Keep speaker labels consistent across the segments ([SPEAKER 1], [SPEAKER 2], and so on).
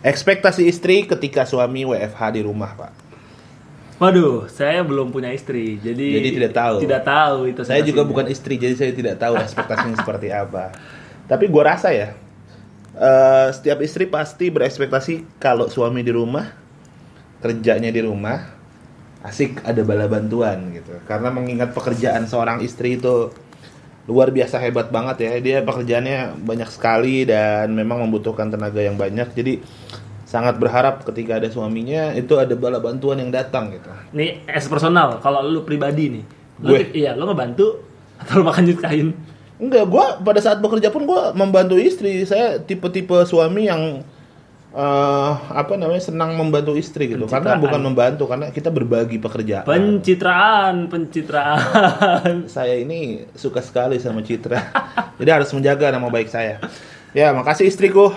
[SPEAKER 1] Ekspektasi istri ketika suami WFH di rumah, Pak.
[SPEAKER 2] Waduh, saya belum punya istri, jadi,
[SPEAKER 1] Jadi tidak tahu.
[SPEAKER 2] Tidak tahu itu.
[SPEAKER 1] Saya juga
[SPEAKER 2] situasinya.
[SPEAKER 1] bukan istri, jadi saya tidak tahu ekspektasinya seperti apa. Tapi gua rasa ya, eh, setiap istri pasti berekspektasi kalau suami di rumah, kerjanya di rumah, asik ada bala bantuan gitu. Karena mengingat pekerjaan seorang istri itu luar biasa hebat banget ya. Dia pekerjaannya banyak sekali dan memang membutuhkan tenaga yang banyak. Jadi sangat berharap ketika ada suaminya itu ada bala bantuan yang datang gitu.
[SPEAKER 2] Ini as personal, kalau lu pribadi nih, lu,
[SPEAKER 1] Gue?
[SPEAKER 2] iya, lu ngebantu atau lu makan jut kain?
[SPEAKER 1] Enggak, gue pada saat bekerja pun gue membantu istri. Saya tipe-tipe suami yang eh apa namanya senang membantu istri gitu. Karena
[SPEAKER 2] Pencitraan.
[SPEAKER 1] bukan membantu, karena kita berbagi pekerjaan.
[SPEAKER 2] Pencitraan, pencitraan.
[SPEAKER 1] saya ini suka sekali sama Citra. Jadi harus menjaga nama baik saya. Ya, makasih istriku.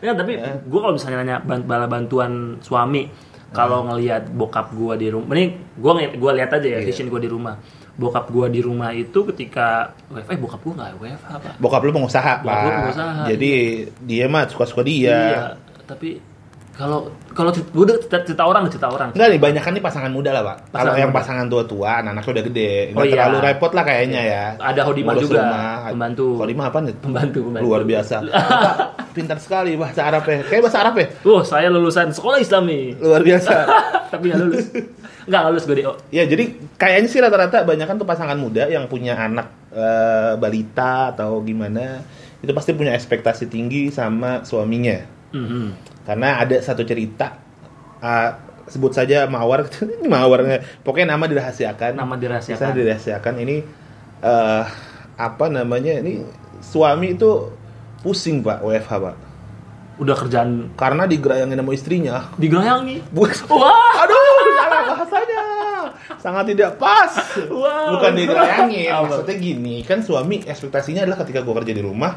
[SPEAKER 2] ya tapi
[SPEAKER 1] Eh.
[SPEAKER 2] gue kalau misalnya nanya ban- bala bantuan suami
[SPEAKER 1] Eh.
[SPEAKER 2] kalau ngelihat bokap gue di rumah ini gue gua lihat aja
[SPEAKER 1] Iya.
[SPEAKER 2] ya vision gue di rumah bokap gue di rumah itu ketika WFH eh bokap gue nggak WFH apa
[SPEAKER 1] Bokap lu pengusaha,
[SPEAKER 2] Bokap lu
[SPEAKER 1] Pak.
[SPEAKER 2] pengusaha, iya.
[SPEAKER 1] Jadi dia mah suka-suka dia.
[SPEAKER 2] tapi kalau kalau gue udah cerita, cerita orang cerita orang
[SPEAKER 1] Enggak nih, banyak kan nih pasangan muda lah, Pak. Kalau
[SPEAKER 2] Pasangan
[SPEAKER 1] yang
[SPEAKER 2] muda.
[SPEAKER 1] pasangan tua-tua, anak-anaknya udah gede. Enggak
[SPEAKER 2] Oh, iya.
[SPEAKER 1] terlalu repot lah kayaknya ya.
[SPEAKER 2] Ada Hodimah
[SPEAKER 1] Ngurus
[SPEAKER 2] juga,
[SPEAKER 1] rumah.
[SPEAKER 2] pembantu.
[SPEAKER 1] Hodimah apa nih?
[SPEAKER 2] pembantu pembantu
[SPEAKER 1] Luar biasa. Bapak Pintar sekali bahasa Arabnya. Kayak bahasa Arab ya?
[SPEAKER 2] Wah, saya lulusan sekolah Islami
[SPEAKER 1] Luar biasa.
[SPEAKER 2] tapi nggak lulus nggak nggak lulus gue DO
[SPEAKER 1] ya, jadi kayaknya sih rata-rata banyak kan tuh pasangan muda yang punya anak eh, balita atau gimana, itu pasti punya ekspektasi tinggi sama suaminya.
[SPEAKER 2] Mhm.
[SPEAKER 1] Karena ada satu cerita eh, sebut saja Mawar, Ini Mawarnya. Pokoknya nama dirahasiakan.
[SPEAKER 2] nama dirahasiakan
[SPEAKER 1] Misalnya dirahasiakan ini eh apa namanya? Ini suami itu pusing, Pak, WFH, Pak.
[SPEAKER 2] udah kerjaan
[SPEAKER 1] Karena digerayangin sama istrinya,
[SPEAKER 2] digeroyangi
[SPEAKER 1] Bukan.
[SPEAKER 2] wah
[SPEAKER 1] Aduh, salah bahasanya. Sangat tidak pas.
[SPEAKER 2] Wow.
[SPEAKER 1] Bukan digerayangin.
[SPEAKER 2] Apa?
[SPEAKER 1] Maksudnya gini, kan suami ekspektasinya adalah ketika gue kerja di rumah,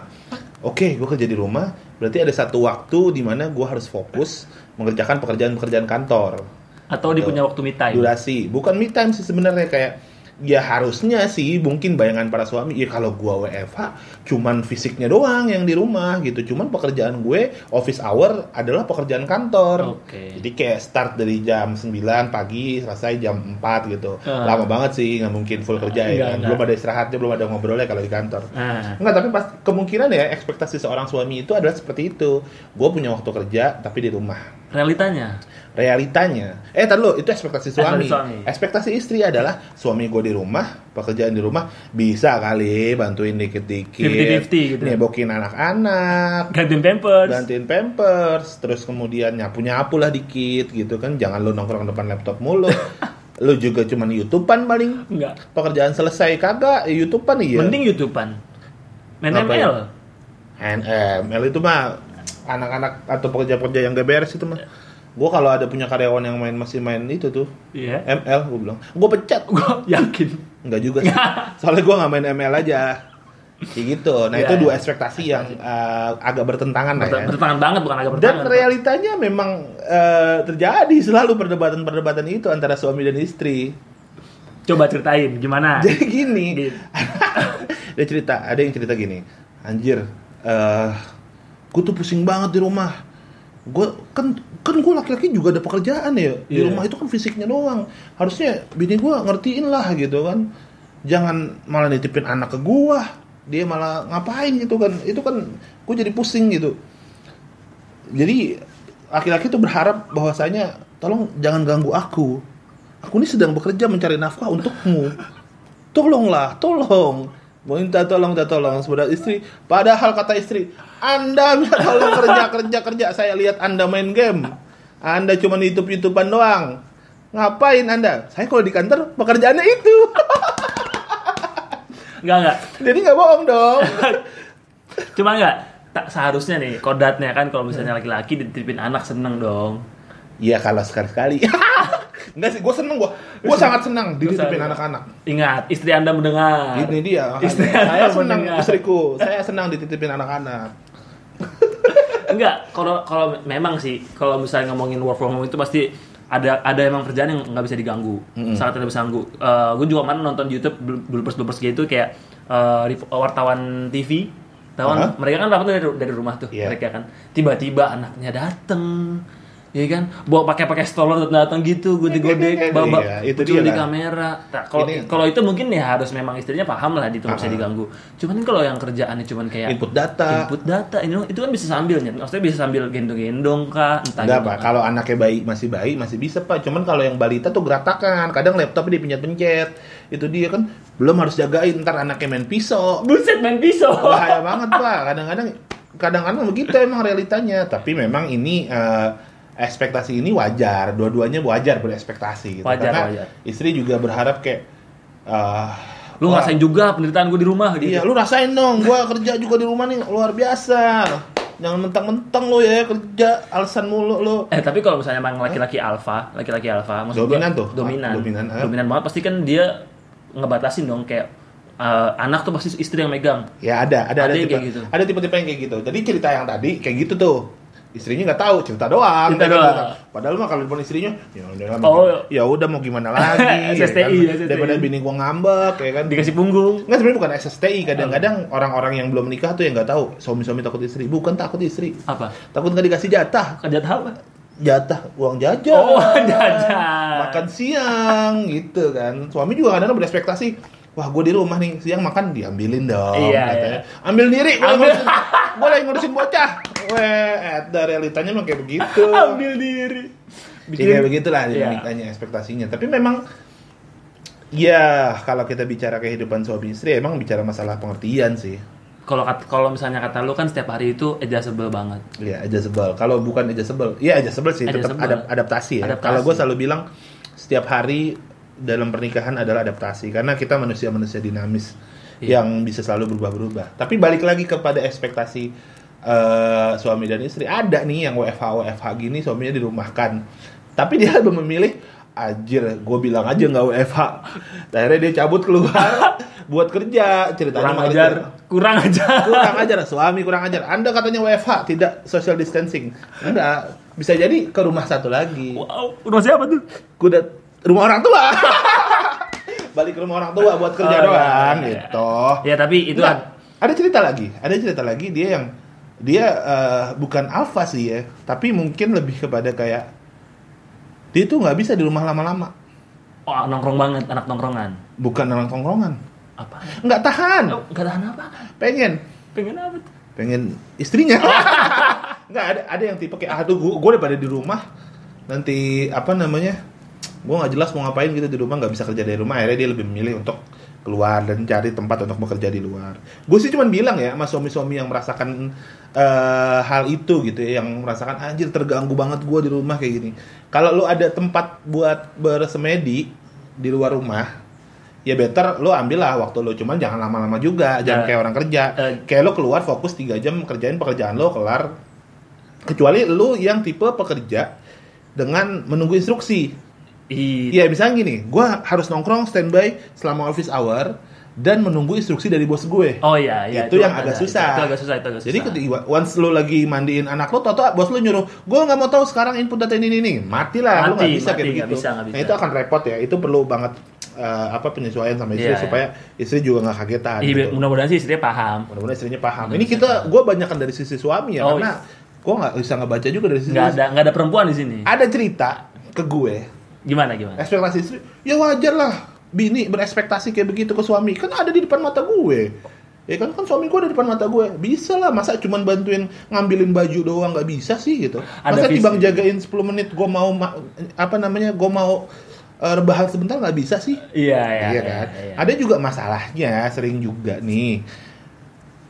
[SPEAKER 1] oke, gue kerja di rumah, berarti ada satu waktu di mana gue harus fokus mengerjakan pekerjaan-pekerjaan kantor.
[SPEAKER 2] atau dia punya waktu me time
[SPEAKER 1] Iya. Durasi, bukan me time sih sebenarnya kayak ya harusnya sih mungkin bayangan para suami ya kalau gua WFH cuman fisiknya doang yang di rumah gitu cuman pekerjaan gue office hour adalah pekerjaan kantor
[SPEAKER 2] Oke.
[SPEAKER 1] jadi kayak start dari jam 9 pagi selesai jam 4 gitu
[SPEAKER 2] Ah.
[SPEAKER 1] lama banget sih nggak mungkin full kerja
[SPEAKER 2] Enggak,
[SPEAKER 1] ya kan
[SPEAKER 2] enggak.
[SPEAKER 1] belum ada istirahatnya belum ada ngobrolnya kalau di kantor
[SPEAKER 2] Ah.
[SPEAKER 1] Enggak, tapi pas kemungkinan ya ekspektasi seorang suami itu adalah seperti itu gue punya waktu kerja tapi di rumah
[SPEAKER 2] realitanya
[SPEAKER 1] realitanya eh tar dulu, itu ekspektasi suami.
[SPEAKER 2] suami.
[SPEAKER 1] ekspektasi istri adalah suami gue di rumah pekerjaan di rumah bisa kali bantuin dikit-dikit
[SPEAKER 2] 50-50 gitu.
[SPEAKER 1] nebokin anak-anak
[SPEAKER 2] gantiin pampers
[SPEAKER 1] bantuin pampers terus kemudian nyapu nyapu lah dikit gitu kan jangan lu nongkrong depan laptop mulu lu juga cuman youtubean paling
[SPEAKER 2] enggak
[SPEAKER 1] pekerjaan selesai kagak ya youtubean iya
[SPEAKER 2] mending youtubean main
[SPEAKER 1] Apa
[SPEAKER 2] ML
[SPEAKER 1] NML itu mah anak-anak atau pekerja-pekerja yang gak beres itu mah gue kalau ada punya karyawan yang main masih main itu tuh
[SPEAKER 2] iya
[SPEAKER 1] ML gue bilang gue pecat
[SPEAKER 2] gue yakin
[SPEAKER 1] nggak juga sih soalnya gue nggak main ML aja kayak gitu nah
[SPEAKER 2] Iya,
[SPEAKER 1] itu
[SPEAKER 2] iya.
[SPEAKER 1] dua ekspektasi yang eh, agak bertentangan lah ya
[SPEAKER 2] Berte- bertentangan banget bukan agak
[SPEAKER 1] dan
[SPEAKER 2] bertentangan
[SPEAKER 1] realitanya memang eh, terjadi selalu perdebatan-perdebatan itu antara suami dan istri
[SPEAKER 2] coba ceritain gimana
[SPEAKER 1] jadi gini
[SPEAKER 2] Gitu.
[SPEAKER 1] dia cerita ada yang cerita gini anjir eh gue tuh pusing banget di rumah gue kan kan gue laki-laki juga ada pekerjaan ya di
[SPEAKER 2] Iya.
[SPEAKER 1] rumah itu kan fisiknya doang harusnya bini gue ngertiin lah gitu kan jangan malah nitipin anak ke gue dia malah ngapain gitu kan itu kan gue jadi pusing gitu jadi laki-laki tuh berharap bahwasanya tolong jangan ganggu aku aku ini sedang bekerja mencari nafkah untukmu tolonglah tolong minta tolong minta tolong saudara istri padahal kata istri anda minta tolong kerja kerja kerja saya lihat anda main game anda cuma youtube youtubean doang ngapain anda saya kalau di kantor pekerjaannya itu
[SPEAKER 2] enggak enggak
[SPEAKER 1] jadi nggak bohong dong
[SPEAKER 2] cuma enggak tak seharusnya nih kodatnya kan kalau misalnya laki-laki dititipin anak seneng dong
[SPEAKER 1] Iya kalau sekali-sekali Enggak sih, gue seneng gue Gue sangat seneng dititipin anak-anak
[SPEAKER 2] ingat istri anda mendengar
[SPEAKER 1] Ini dia,
[SPEAKER 2] Nah, Istri
[SPEAKER 1] saya
[SPEAKER 2] anda
[SPEAKER 1] senang
[SPEAKER 2] mendengar.
[SPEAKER 1] istriku Saya senang dititipin anak-anak
[SPEAKER 2] enggak kalau kalau memang sih kalau misalnya ngomongin work from home itu pasti ada ada emang kerjaan yang nggak bisa diganggu sangat tidak bisa ganggu Eh, gue juga kemarin nonton di YouTube bloopers bloopers gitu kayak eh, rep- wartawan TV tahu kan,
[SPEAKER 1] Aha.
[SPEAKER 2] mereka kan rapat dari, dari rumah tuh
[SPEAKER 1] Iya.
[SPEAKER 2] mereka kan tiba-tiba anaknya dateng ya kan bawa pakai-pakai stroller datang gitu gode-gode babak
[SPEAKER 1] Iya, itu
[SPEAKER 2] muncul
[SPEAKER 1] dia
[SPEAKER 2] di
[SPEAKER 1] lah.
[SPEAKER 2] kamera Nah, kalau
[SPEAKER 1] Ini-
[SPEAKER 2] kalau itu mungkin ya harus memang istrinya paham lah itu nggak bisa diganggu cuman kan kalau yang kerjaannya cuman kayak
[SPEAKER 1] input data
[SPEAKER 2] input data ini itu kan bisa sambil Nyet. maksudnya bisa sambil gendong-gendong kah entah
[SPEAKER 1] Enggak,
[SPEAKER 2] gitu
[SPEAKER 1] Pak.
[SPEAKER 2] kan.
[SPEAKER 1] Kalau anaknya bayi masih bayi masih bisa, Pak. Cuman kalau yang balita tuh geratakan. Kadang laptopnya dipencet-pencet. Itu dia kan belum harus jagain ntar anaknya main pisau.
[SPEAKER 2] buset main pisau
[SPEAKER 1] Bahaya banget, Pak. Kadang-kadang kadang-kadang begitu emang realitanya. Tapi memang ini eh, ekspektasi ini wajar. Dua-duanya wajar berespektasi gitu.
[SPEAKER 2] Wajar,
[SPEAKER 1] Karena
[SPEAKER 2] wajar.
[SPEAKER 1] istri juga berharap kayak eh,
[SPEAKER 2] lu
[SPEAKER 1] wah,
[SPEAKER 2] ngerasain juga penderitaan gue di rumah gitu
[SPEAKER 1] Iya, lu rasain dong. Gua kerja juga di rumah nih luar biasa. Jangan mentang-mentang lu ya kerja alasan mulu lu.
[SPEAKER 2] eh tapi kalau misalnya emang laki-laki alfa laki-laki alfa maksud gua-
[SPEAKER 1] Dominan tuh.
[SPEAKER 2] dominan
[SPEAKER 1] Dominan, ah.
[SPEAKER 2] dominan banget pasti kan dia ngebatasin dong kayak eh, anak tuh pasti istri yang megang
[SPEAKER 1] Ya ada, ada
[SPEAKER 2] Ada
[SPEAKER 1] ada,
[SPEAKER 2] yang
[SPEAKER 1] tipe,
[SPEAKER 2] kayak gitu.
[SPEAKER 1] ada tipe-tipe yang kayak gitu. Jadi cerita yang tadi kayak gitu tuh. Istrinya nggak tahu, cerita doang. Mereka
[SPEAKER 2] Cerita doang.
[SPEAKER 1] nggak tahu. Padahal mah kalau telepon istrinya, ya udah lah,
[SPEAKER 2] Oh.
[SPEAKER 1] ya udah mau gimana lagi. ya
[SPEAKER 2] SSTI,
[SPEAKER 1] kan?
[SPEAKER 2] SSTI.
[SPEAKER 1] Daripada bini gua ngambek ya kan.
[SPEAKER 2] dikasih punggung
[SPEAKER 1] Nggak sebenarnya bukan SSTI, kadang-kadang
[SPEAKER 2] Hmm.
[SPEAKER 1] orang-orang yang belum nikah tuh yang nggak tahu suami-suami takut istri, bukan takut istri.
[SPEAKER 2] apa
[SPEAKER 1] Takut nggak dikasih jatah,
[SPEAKER 2] kerja apa
[SPEAKER 1] jatah uang jajan.
[SPEAKER 2] Oh, jajan.
[SPEAKER 1] Makan siang gitu kan. Suami juga kadang-kadang berespektasi. Wah, gue di rumah nih siang makan diambilin dong.
[SPEAKER 2] Iya,
[SPEAKER 1] katanya. Ambil diri, gue
[SPEAKER 2] Ambil.
[SPEAKER 1] ngurusin, gua lagi ngurusin bocah. Weh, ada realitanya memang kayak begitu.
[SPEAKER 2] ambil diri
[SPEAKER 1] Ya, kayak begitulah
[SPEAKER 2] Iya.
[SPEAKER 1] dinamikanya ekspektasinya. Tapi memang ya kalau kita bicara kehidupan suami istri emang bicara masalah pengertian sih.
[SPEAKER 2] kalau kat- kalau misalnya kata lu kan setiap hari itu adjustable banget
[SPEAKER 1] Ya adjustable. Kalau bukan adjustable, ya adjustable sih. Tetap
[SPEAKER 2] Adjustable.
[SPEAKER 1] adap- adaptasi ya.
[SPEAKER 2] Adaptasi.
[SPEAKER 1] Kalau gue selalu bilang setiap hari dalam pernikahan adalah adaptasi karena kita manusia-manusia dinamis
[SPEAKER 2] Iya.
[SPEAKER 1] yang bisa selalu berubah-berubah. Tapi balik lagi kepada ekspektasi eh, suami dan istri. Ada nih yang WFH WFH gini suaminya dirumahkan. Tapi dia lebih memilih Anjir, gue bilang aja nggak WFH. Akhirnya dia cabut keluar buat kerja. Ceritanya
[SPEAKER 2] kurang
[SPEAKER 1] malah
[SPEAKER 2] ajar
[SPEAKER 1] dia-
[SPEAKER 2] kurang ajar
[SPEAKER 1] kurang ajar suami kurang ajar anda katanya WFH tidak social distancing anda bisa jadi ke rumah satu lagi
[SPEAKER 2] wow rumah siapa tuh
[SPEAKER 1] kuda rumah orang tua balik ke rumah orang tua buat kerja
[SPEAKER 2] Oh, iya,
[SPEAKER 1] doang
[SPEAKER 2] iya, iya.
[SPEAKER 1] gitu
[SPEAKER 2] ya tapi itu
[SPEAKER 1] Nggak, ada cerita lagi ada cerita lagi dia yang dia eh, bukan alpha sih ya tapi mungkin lebih kepada kayak dia tuh nggak bisa di rumah lama-lama
[SPEAKER 2] Wah, oh, nongkrong banget anak nongkrongan
[SPEAKER 1] bukan orang tongkrongan
[SPEAKER 2] apa
[SPEAKER 1] nggak tahan
[SPEAKER 2] oh, gak tahan apa
[SPEAKER 1] pengen
[SPEAKER 2] pengen apa tuh?
[SPEAKER 1] pengen istrinya nggak ada ada yang tipe kayak ah tuh gue daripada di rumah nanti apa namanya gue nggak jelas mau ngapain gitu di rumah nggak bisa kerja dari rumah akhirnya dia lebih memilih untuk keluar dan cari tempat untuk bekerja di luar gue sih cuman bilang ya sama suami-suami yang merasakan eh, hal itu gitu ya yang merasakan anjir terganggu banget gue di rumah kayak gini kalau lo ada tempat buat bersemedi di luar rumah ya better lo ambil lah waktu lo cuman jangan lama-lama juga jangan
[SPEAKER 2] Ya.
[SPEAKER 1] kayak orang kerja
[SPEAKER 2] Eh.
[SPEAKER 1] kayak lo keluar fokus 3 jam kerjain pekerjaan lo kelar kecuali lo yang tipe pekerja dengan menunggu instruksi
[SPEAKER 2] Ih,
[SPEAKER 1] Iya misalnya gini gua harus nongkrong standby selama office hour dan menunggu instruksi dari bos gue
[SPEAKER 2] Oh iya, iya.
[SPEAKER 1] Itu yang agak
[SPEAKER 2] ada.
[SPEAKER 1] susah.
[SPEAKER 2] Itu, itu agak susah, itu agak susah.
[SPEAKER 1] jadi ketika once lo lagi mandiin anak lo toto bos lo nyuruh gua nggak mau tahu sekarang input data ini ini, ini mati lah lo nggak
[SPEAKER 2] Mati,
[SPEAKER 1] bisa
[SPEAKER 2] mati,
[SPEAKER 1] kayak
[SPEAKER 2] nggak
[SPEAKER 1] begitu
[SPEAKER 2] bisa, nggak bisa.
[SPEAKER 1] nah itu akan repot ya itu perlu banget eh, apa penyesuaian sama istri
[SPEAKER 2] Iya, iya.
[SPEAKER 1] supaya istri juga nggak kagetan
[SPEAKER 2] Ih,
[SPEAKER 1] gitu.
[SPEAKER 2] mudah-mudahan sih istrinya paham.
[SPEAKER 1] mudah-mudahan istrinya paham ini kita gue banyakkan dari sisi suami ya
[SPEAKER 2] Oh,
[SPEAKER 1] karena gue nggak bisa ngebaca juga dari sisi
[SPEAKER 2] Nggak ada, nggak ada perempuan di sini.
[SPEAKER 1] ada cerita ke gue
[SPEAKER 2] Gimana gimana?
[SPEAKER 1] ekspektasi istri ya wajar lah bini berespektasi kayak begitu ke suami kan ada di depan mata gue ya kan kan suami gue ada di depan mata gue bisa lah masa cuman bantuin ngambilin baju doang nggak bisa sih gitu
[SPEAKER 2] Ada
[SPEAKER 1] masa
[SPEAKER 2] visi.
[SPEAKER 1] dibang jagain 10 menit gue mau ma- apa namanya gue mau eh, rebahan sebentar nggak bisa sih
[SPEAKER 2] Iya, iya.
[SPEAKER 1] Iya kan? Ada juga masalahnya, sering juga nih.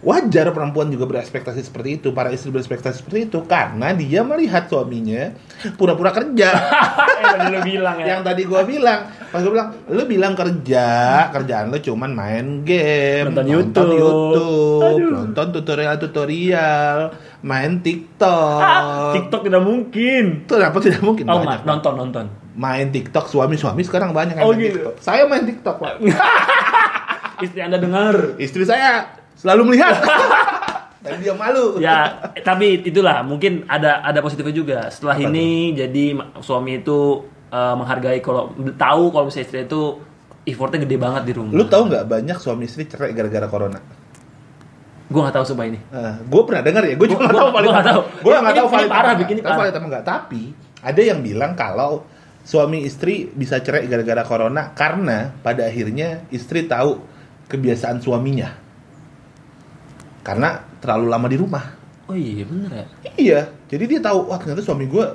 [SPEAKER 1] Wajar perempuan juga berespektasi seperti itu, para istri berespektasi seperti itu karena dia melihat suaminya pura-pura kerja.
[SPEAKER 2] Eh, tadi lu bilang ya.
[SPEAKER 1] Yang tadi gua bilang, pas gua bilang, lu bilang kerja, kerjaan lu cuman main game,
[SPEAKER 2] Nonton YouTube.
[SPEAKER 1] YouTube,
[SPEAKER 2] Aduh.
[SPEAKER 1] nonton tutorial-tutorial, main TikTok.
[SPEAKER 2] Ah, TikTok tidak mungkin.
[SPEAKER 1] Itu apa tidak mungkin
[SPEAKER 2] Oh,
[SPEAKER 1] banyak.
[SPEAKER 2] ma- nonton nonton.
[SPEAKER 1] Main TikTok suami-suami sekarang banyak yang
[SPEAKER 2] Oh,
[SPEAKER 1] main
[SPEAKER 2] gitu.
[SPEAKER 1] TikTok. Saya main TikTok, Pak.
[SPEAKER 2] Istri Anda dengar.
[SPEAKER 1] istri saya selalu melihat dan dia malu
[SPEAKER 2] Ya, eh, tapi itulah mungkin ada ada positifnya juga. Setelah
[SPEAKER 1] Apa
[SPEAKER 2] ini jadi ma- suami itu eh, menghargai kalau tahu kalau misalnya istri itu effortnya gede banget di rumah.
[SPEAKER 1] Lu tahu nggak banyak suami istri cerai gara-gara corona?
[SPEAKER 2] Gue nggak tahu sumpah ini.
[SPEAKER 1] gue pernah dengar ya, gue
[SPEAKER 2] Gua-
[SPEAKER 1] juga nggak
[SPEAKER 2] gua-
[SPEAKER 1] tahu paling.
[SPEAKER 2] gua nggak tahu.
[SPEAKER 1] Gue
[SPEAKER 2] Ini-
[SPEAKER 1] nggak tahu
[SPEAKER 2] ini
[SPEAKER 1] paling
[SPEAKER 2] parah, bikin ini parah.
[SPEAKER 1] enggak. Tapi ada yang bilang kalau suami istri bisa cerai gara-gara corona karena pada akhirnya istri tahu kebiasaan suaminya. Karena terlalu lama di rumah.
[SPEAKER 2] Oh iya bener ya.
[SPEAKER 1] Iya, jadi dia tahu wah ternyata suami gue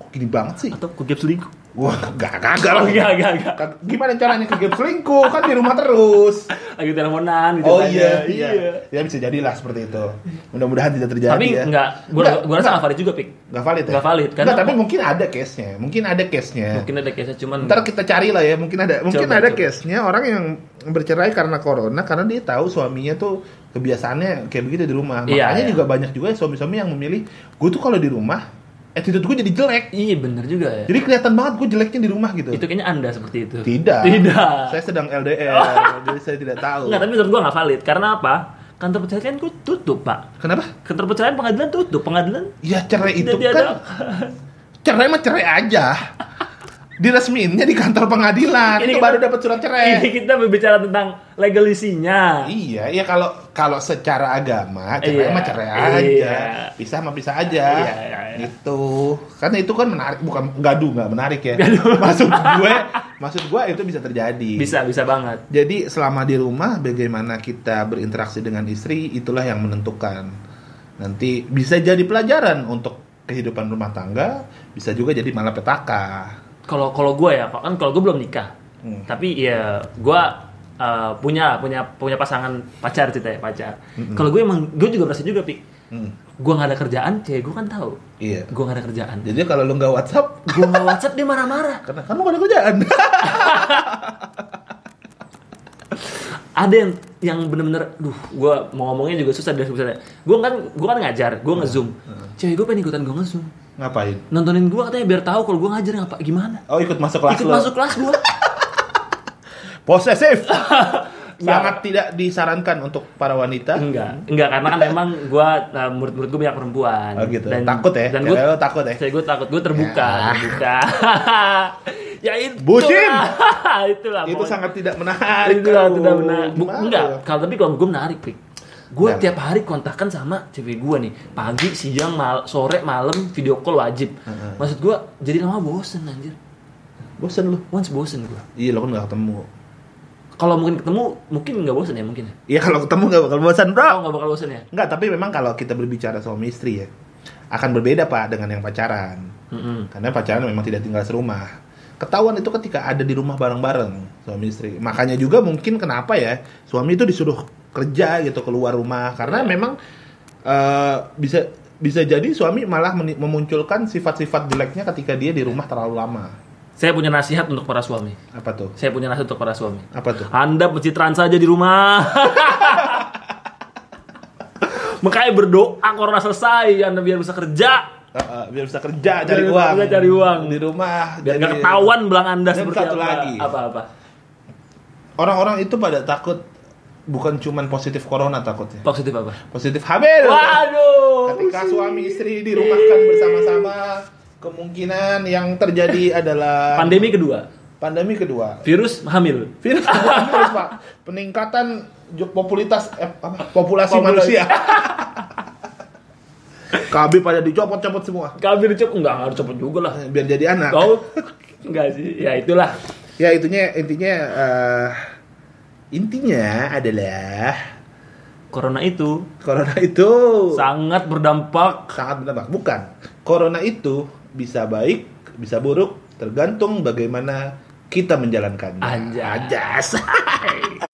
[SPEAKER 1] kok gini banget sih.
[SPEAKER 2] Atau kugep selingkuh?
[SPEAKER 1] Wah, gak kagak lah.
[SPEAKER 2] Oh enggak enggak enggak.
[SPEAKER 1] Kag- Gimana caranya ke game selingkuh kan di rumah terus.
[SPEAKER 2] Lagi teleponan gitu.
[SPEAKER 1] Oh
[SPEAKER 2] aja.
[SPEAKER 1] iya, iya. Ya bisa jadilah seperti itu. Mudah-mudahan tidak terjadi
[SPEAKER 2] Tapi
[SPEAKER 1] ya.
[SPEAKER 2] enggak, gue
[SPEAKER 1] Nggak,
[SPEAKER 2] gue rasa nggak valid juga pik.
[SPEAKER 1] nggak valid ya?
[SPEAKER 2] nggak valid, karena-
[SPEAKER 1] Nggak, tapi mungkin ada case-nya. Mungkin ada case-nya.
[SPEAKER 2] Mungkin ada case cuman
[SPEAKER 1] Eh. Ntar kita cari lah ya, mungkin ada mungkin
[SPEAKER 2] Coba,
[SPEAKER 1] ada
[SPEAKER 2] coba.
[SPEAKER 1] case-nya orang yang bercerai karena corona karena dia tahu suaminya tuh kebiasaannya kayak begitu di rumah.
[SPEAKER 2] Iya,
[SPEAKER 1] Makanya
[SPEAKER 2] iya.
[SPEAKER 1] juga banyak juga suami-suami yang memilih gue tuh kalau di rumah attitude gue jadi jelek.
[SPEAKER 2] iya bener juga ya.
[SPEAKER 1] Jadi kelihatan banget gue jeleknya di rumah gitu.
[SPEAKER 2] Itu kayaknya anda seperti itu.
[SPEAKER 1] Tidak.
[SPEAKER 2] Tidak.
[SPEAKER 1] Saya sedang LDR, jadi saya tidak tahu.
[SPEAKER 2] Enggak, tapi menurut gue nggak valid. Karena apa? Kantor perceraian gue tutup pak.
[SPEAKER 1] Kenapa?
[SPEAKER 2] Kantor perceraian pengadilan tutup. Pengadilan
[SPEAKER 1] Ya cerai itu
[SPEAKER 2] tidak
[SPEAKER 1] kan
[SPEAKER 2] diadakan.
[SPEAKER 1] cerai mah cerai aja. Diresmiinnya di kantor pengadilan.
[SPEAKER 2] Ini
[SPEAKER 1] itu
[SPEAKER 2] kita-
[SPEAKER 1] baru dapat surat cerai.
[SPEAKER 2] Ini kita berbicara tentang legalisinya.
[SPEAKER 1] Iya, iya kalau kalau secara agama cerai
[SPEAKER 2] Iya,
[SPEAKER 1] mah cerai
[SPEAKER 2] iya.
[SPEAKER 1] aja, pisah mah pisah aja,
[SPEAKER 2] Iya, iya, iya.
[SPEAKER 1] gitu. Karena itu kan menarik, bukan gaduh nggak menarik ya. Maksud gue, maksud gue itu bisa terjadi.
[SPEAKER 2] Bisa, bisa banget.
[SPEAKER 1] Jadi selama di rumah bagaimana kita berinteraksi dengan istri itulah yang menentukan. Nanti bisa jadi pelajaran untuk kehidupan rumah tangga, bisa juga jadi malapetaka.
[SPEAKER 2] Kalau kalau gue ya, kan kalau gue belum nikah.
[SPEAKER 1] Hmm.
[SPEAKER 2] Tapi ya gue eh, punya punya punya pasangan pacar cerita ya pacar. Kalau gue emang gue juga merasa juga pi.
[SPEAKER 1] Hmm,
[SPEAKER 2] Gue nggak ada kerjaan, cewek gue kan tahu.
[SPEAKER 1] iya.
[SPEAKER 2] Gue nggak ada kerjaan.
[SPEAKER 1] Jadi kalau lu nggak WhatsApp,
[SPEAKER 2] Gue nggak WhatsApp dia marah-marah.
[SPEAKER 1] karena kan lu nggak ada kerjaan.
[SPEAKER 2] ada yang yang bener-bener, duh, gue mau ngomongnya juga susah dari sebesarnya. Gue kan gue kan ngajar, gue ngezoom.
[SPEAKER 1] Hmm.
[SPEAKER 2] Cewek gue pengen ikutan gue ngezoom.
[SPEAKER 1] Ngapain?
[SPEAKER 2] Nontonin gue katanya biar tahu kalau gue ngajar ngapa gimana.
[SPEAKER 1] Oh ikut masuk kelas
[SPEAKER 2] Ikut
[SPEAKER 1] lu.
[SPEAKER 2] masuk kelas gue.
[SPEAKER 1] posesif sangat tidak disarankan untuk para wanita
[SPEAKER 2] enggak, enggak karena kan memang gue nah, murid-murid gue banyak perempuan.
[SPEAKER 1] oh gitu takut ya
[SPEAKER 2] Dan gue
[SPEAKER 1] Cewek lo takut ya
[SPEAKER 2] saya gue takut gue terbuka,
[SPEAKER 1] Ya.
[SPEAKER 2] terbuka. ya itu.
[SPEAKER 1] Bucin!
[SPEAKER 2] itulah.
[SPEAKER 1] itu
[SPEAKER 2] pokoknya.
[SPEAKER 1] sangat tidak menarik
[SPEAKER 2] itu lah
[SPEAKER 1] Aduh,
[SPEAKER 2] tidak benar Bu-
[SPEAKER 1] gimana
[SPEAKER 2] enggak
[SPEAKER 1] ya?
[SPEAKER 2] kalau tapi kalau gue menarik pik gue
[SPEAKER 1] Nah.
[SPEAKER 2] tiap hari kontakkan sama cewek gue nih pagi siang mal- sore malam video call wajib
[SPEAKER 1] Heeh.
[SPEAKER 2] maksud gue jadi lama bosen anjir
[SPEAKER 1] bosen lu
[SPEAKER 2] once bosen gue
[SPEAKER 1] iya lo kan nggak ketemu
[SPEAKER 2] kalau mungkin ketemu mungkin nggak bosen ya mungkin ya
[SPEAKER 1] iya kalau ketemu nggak bakal bosan bro
[SPEAKER 2] kalau nggak bakal bosen ya
[SPEAKER 1] nggak tapi memang kalau kita berbicara suami istri ya akan berbeda pak dengan yang pacaran
[SPEAKER 2] Mm-mm.
[SPEAKER 1] karena pacaran memang tidak tinggal serumah ketahuan itu ketika ada di rumah bareng-bareng suami istri makanya juga mungkin kenapa ya suami itu disuruh kerja gitu keluar rumah karena memang eh, bisa bisa jadi suami malah meni- memunculkan sifat-sifat jeleknya ketika dia di rumah terlalu lama
[SPEAKER 2] saya punya nasihat untuk para suami
[SPEAKER 1] apa tuh
[SPEAKER 2] saya punya nasihat untuk para suami
[SPEAKER 1] apa tuh
[SPEAKER 2] anda pencitraan saja di rumah makanya berdoa corona selesai anda biar bisa kerja
[SPEAKER 1] Eh, eh, biar bisa kerja
[SPEAKER 2] Biar
[SPEAKER 1] cari
[SPEAKER 2] bisa
[SPEAKER 1] uang
[SPEAKER 2] kerja, cari uang.
[SPEAKER 1] di rumah
[SPEAKER 2] biar nggak
[SPEAKER 1] jadi-
[SPEAKER 2] ketahuan belang anda
[SPEAKER 1] Dan
[SPEAKER 2] seperti
[SPEAKER 1] satu
[SPEAKER 2] apa,
[SPEAKER 1] lagi.
[SPEAKER 2] apa apa
[SPEAKER 1] orang-orang itu pada takut bukan cuman positif corona takutnya
[SPEAKER 2] positif apa
[SPEAKER 1] positif hamil
[SPEAKER 2] waduh
[SPEAKER 1] Ketika suami istri dirumahkan bersama-sama, kemungkinan yang terjadi adalah
[SPEAKER 2] pandemi kedua
[SPEAKER 1] pandemi kedua.
[SPEAKER 2] virus hamil
[SPEAKER 1] Virus corona, virus, Pak. Peningkatan ju- populitas eh, apa? populasi
[SPEAKER 2] Populasi.
[SPEAKER 1] manusia. KB pada dicopot-copot semua
[SPEAKER 2] kabir cep enggak enggak harus cepet juga lah
[SPEAKER 1] Eh, biar jadi anak.
[SPEAKER 2] kau enggak sih ya itulah
[SPEAKER 1] Ya itunya intinya eh, intinya adalah
[SPEAKER 2] corona itu
[SPEAKER 1] corona itu
[SPEAKER 2] sangat berdampak
[SPEAKER 1] sangat berdampak. Bukan. Corona itu bisa baik, bisa buruk, tergantung bagaimana kita menjalankannya.
[SPEAKER 2] Anjas.
[SPEAKER 1] Anjas.